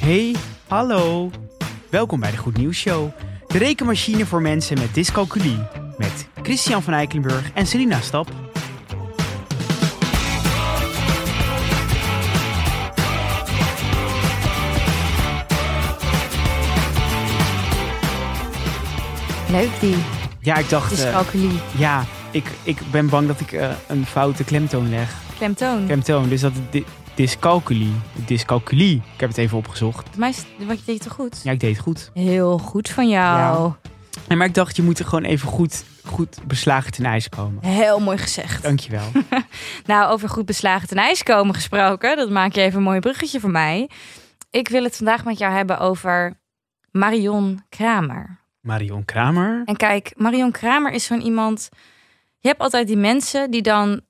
Hey, hallo. Welkom bij de Goed Nieuws Show. De rekenmachine voor mensen met dyscalculie. Met Christian van Eikelenburg en Selina Stap. Leuk die Ja, ik dacht... eh, dyscalculie. ja, ik, ik ben bang dat ik eh, een foute klemtoon leg. Klemtoon. Klemtoon, dus dat di dyscalculie. Dyscalculie. Ik heb het even opgezocht. Voor mij is het- wat je deed toch goed? Ja, ik deed het goed. Heel goed van jou. Nee, maar ik dacht, je moet er gewoon even goed, goed beslagen ten ijs komen. Heel mooi gezegd. Dankjewel. Nou, over goed beslagen ten ijs komen gesproken. Dat maak je even een mooi bruggetje voor mij. Ik wil het vandaag met jou hebben over Marion Kramer. Marion Kramer. En kijk, Marion Kramer is zo'n iemand. Je hebt altijd die mensen die dan.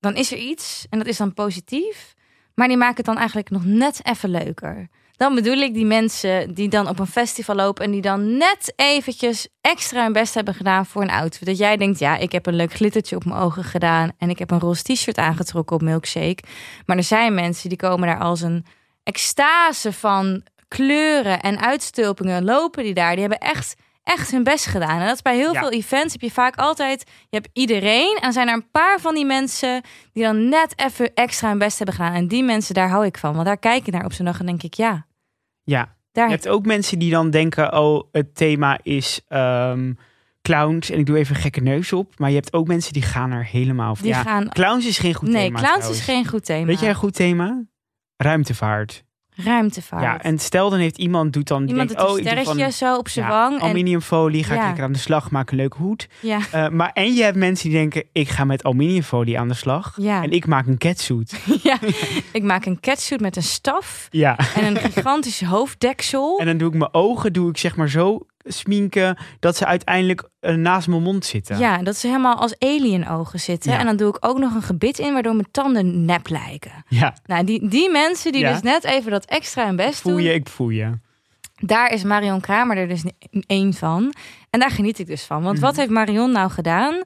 Dan is er iets en dat is dan positief. Maar die maken het dan eigenlijk nog net even leuker. Dan bedoel ik die mensen die dan op een festival lopen en die dan net eventjes extra hun best hebben gedaan voor een outfit. Dat jij denkt, ja, ik heb een leuk glittertje op mijn ogen gedaan en ik heb een roze t-shirt aangetrokken op Milkshake. Maar er zijn mensen die komen daar als een extase van kleuren en uitstulpingen lopen die daar. Die hebben echt, echt hun best gedaan. En dat is bij heel Ja. veel events heb je vaak altijd, je hebt iedereen en dan zijn er een paar van die mensen die dan net even extra hun best hebben gedaan. En die mensen, daar hou ik van. Want daar kijk ik naar op zo'n dag en denk ik, ja, Ja, daar Je hebt ook mensen die dan denken, oh, het thema is ehm, clowns en ik doe even een gekke neus op. Maar je hebt ook mensen die gaan er helemaal voor. die ja, gaan. Clowns is geen goed Nee, thema. clowns trouwens. is geen goed thema. Weet jij een goed thema? Ruimtevaart. Ruimtevaart. Ja, en stel dan heeft iemand, doet dan, die Iemand denkt, het oh, een ik doe sterretje van zo op zijn ja, wang. En, aluminiumfolie, ga ik Ja. lekker aan de slag, maak een leuk hoed. ja, Eh, maar en je hebt mensen die denken, ik ga met aluminiumfolie aan de slag. Ja. En ik maak een catsuit. ja, ik maak een catsuit met een staf Ja. en een gigantisch hoofddeksel. En dan doe ik mijn ogen, doe ik zeg maar zo sminken, dat ze uiteindelijk eh, naast mijn mond zitten. Ja, dat ze helemaal als alien ogen zitten. Ja. En dan doe ik ook nog een gebit in, waardoor mijn tanden nep lijken. ja. Nou, die, die mensen die Ja. dus net even dat extra hun best Voel doen, je, ik voel je. daar is Marion Kramer er dus één van. En daar geniet ik dus van. Want Mhm. wat heeft Marion nou gedaan?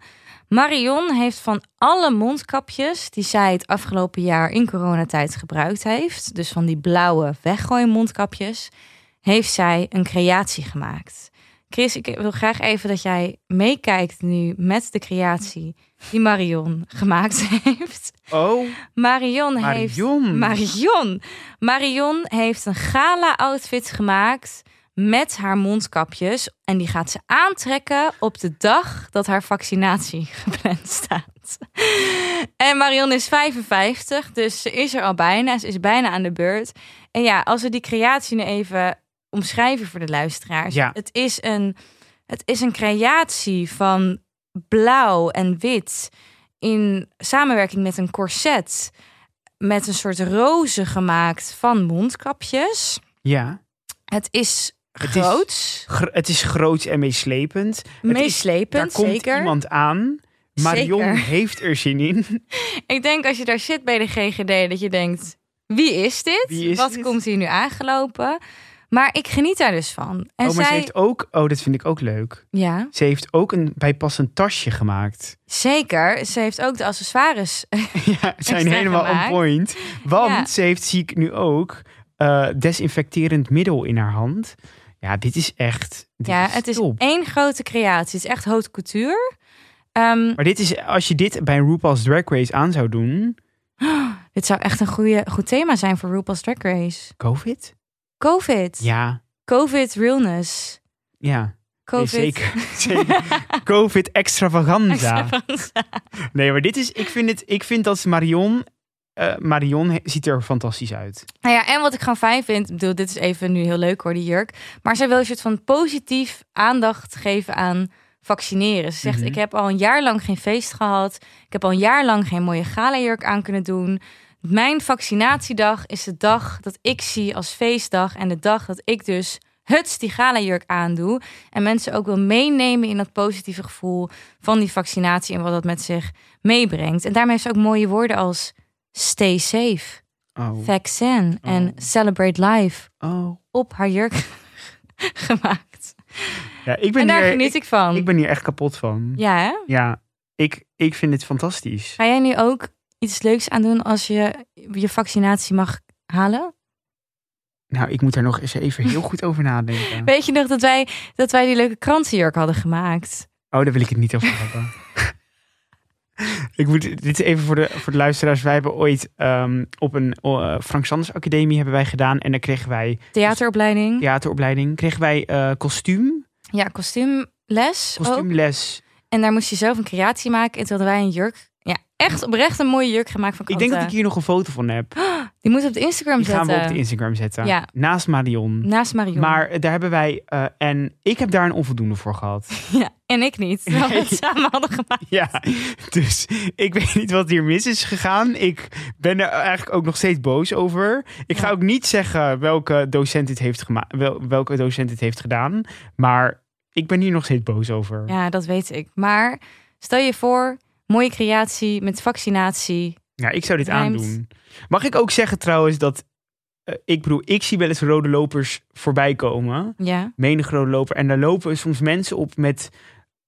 Marion heeft van alle mondkapjes die zij het afgelopen jaar in coronatijd gebruikt heeft, dus van die blauwe weggooien mondkapjes, heeft zij een creatie gemaakt. Chris, ik wil graag even dat jij meekijkt nu met de creatie die Marion gemaakt heeft. Oh, Marion, heeft. Marion. Marion. Marion heeft een gala-outfit gemaakt met haar mondkapjes. En die gaat ze aantrekken op de dag dat haar vaccinatie gepland staat. En Marion is 55, dus ze is er al bijna. Ze is bijna aan de beurt. En ja, als we die creatie nu even omschrijven voor de luisteraars. Ja. Het, is een, het is een creatie van blauw en wit in samenwerking met een corset met een soort rozen gemaakt van mondkapjes. ja. Het is is groots, Gr- het is groot en meeslepend. Het is- meeslepend, daar komt zeker. iemand aan. Marion Zeker. heeft er zin in. Ik denk als je daar zit bij de GGD dat je denkt, wie is dit? Wie is Wat dit? komt hier nu aangelopen? Maar ik geniet daar dus van. En oh, maar zij, ze heeft ook... Oh, dat vind ik ook leuk. ja, Ze heeft ook een bijpassend tasje gemaakt. zeker. Ze heeft ook de accessoires. ja, ze zijn Extra helemaal gemaakt. on point. Want Ja. ze heeft, zie ik nu ook, eh, desinfecterend middel in haar hand. Ja, dit is echt... Dit ja, is het is top. één grote creatie. Het is echt haute couture. Ehm, Maar dit is, als je dit bij een RuPaul's Drag Race aan zou doen... dit zou echt een goede, goed thema zijn voor RuPaul's Drag Race. COVID? Covid. Ja, Covid realness. ja. Nee, Covid. zeker. zeker. Covid extravaganza. Extravaganza. Nee, maar dit is. Ik vind, het, ik vind dat Marion. eh, Marion he- ziet er fantastisch uit. Nou ja, en wat ik gewoon fijn vind, ik bedoel, dit is even nu heel leuk hoor, die jurk. Maar zij wil een soort van positief aandacht geven aan vaccineren. Ze zegt, Mhm. ik heb al een jaar lang geen feest gehad. Ik heb al een jaar lang geen mooie galajurk aan kunnen doen. Mijn vaccinatiedag is de dag dat ik zie als feestdag. En de dag dat ik dus huts die galajurk aandoe. En mensen ook wil meenemen in dat positieve gevoel van die vaccinatie. En wat dat met zich meebrengt. En daarmee heeft ze ook mooie woorden als stay safe. Oh. Vaccin en Oh. Celebrate Life oh. op haar jurk gemaakt. Ja, ik ben En daar hier, geniet ik, ik van. ik ben hier echt kapot van. Ja, Ja, hè? ik, ik vind het fantastisch. Ga jij nu ook iets leuks aan doen als je je vaccinatie mag halen? Nou, ik moet daar nog eens even heel goed over nadenken. Weet je nog dat wij, dat wij die leuke krantenjurk hadden gemaakt? Oh, daar wil ik het niet over hebben. ik moet dit is even voor de, voor de luisteraars. Wij hebben ooit ehm, op een eh, Frank Sanders Academie hebben wij gedaan. En daar kregen wij Theateropleiding. Ja, theateropleiding. Kregen wij eh, kostuum, kostuumles ook. kostuumles. En daar moest je zelf een creatie maken. En toen hadden wij een jurk. Ja, echt oprecht een mooie jurk gemaakt van Ik kranten. denk dat ik hier nog een foto van heb. Die moet op de Instagram Die zetten. gaan we op de Instagram zetten. Ja. Naast Marion. Naast Marion. Maar eh, daar hebben wij, eh, en ik heb daar een onvoldoende voor gehad. Ja, en ik niet. Terwijl we het Nee. samen hadden gemaakt. ja, dus ik weet niet wat hier mis is gegaan. Ik ben er eigenlijk ook nog steeds boos over. Ik ga Ja. ook niet zeggen welke docent dit heeft, gema- wel, welke docent dit heeft gedaan. Maar ik ben hier nog steeds boos over. Ja, dat weet ik. Maar stel je voor, mooie creatie met vaccinatie. Ja, ik zou dit Rijmt. aandoen. Mag ik ook zeggen trouwens dat... eh, ik bedoel, ik zie wel eens rode lopers voorbij komen. Ja. menig rode loper. En daar lopen soms mensen op met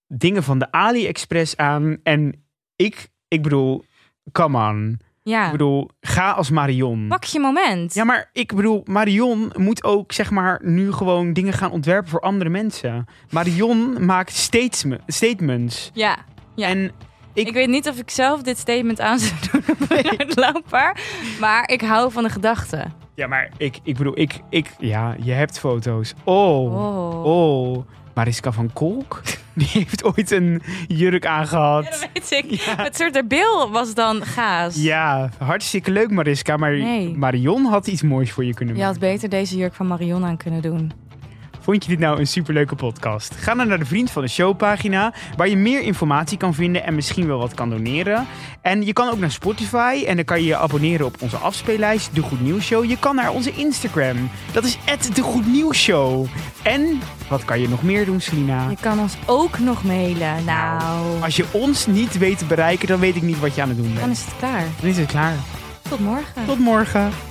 dingen van de AliExpress aan. En ik, ik bedoel, come on. Ik Ja. bedoel, ga als Marion. Pak je moment. Ja, maar ik bedoel, Marion moet ook zeg maar nu gewoon dingen gaan ontwerpen voor andere mensen. Marion maakt steeds statements. Ja. Ja. En Ik... weet niet of ik zelf dit statement aan zou doen op een uitloper. Maar ik hou van de gedachte. ja, maar ik, ik bedoel, ik, ik, ja, je hebt foto's. Oh, oh. Oh. Mariska van Kolk, die heeft ooit een jurk aangehad. Ja, dat weet ik. Het soort haar bil was dan gaas. Ja, hartstikke leuk Mariska, maar Nee. Marion had iets moois voor je kunnen Je maken. had beter deze jurk van Marion aan kunnen doen. Vond je dit nou een superleuke podcast? Ga dan naar de Vriend van de Show pagina, waar je meer informatie kan vinden en misschien wel wat kan doneren. En je kan ook naar Spotify en dan kan je je abonneren op onze afspeellijst, De Goed Nieuws Show. Je kan naar onze Instagram, dat is De Goed Nieuws Show. En wat kan je nog meer doen, Selina? Je kan ons ook nog mailen. Nou, Als je ons niet weet te bereiken, dan weet ik niet wat je aan het doen dan bent. is het klaar. Dan is het klaar. Tot morgen. Tot morgen.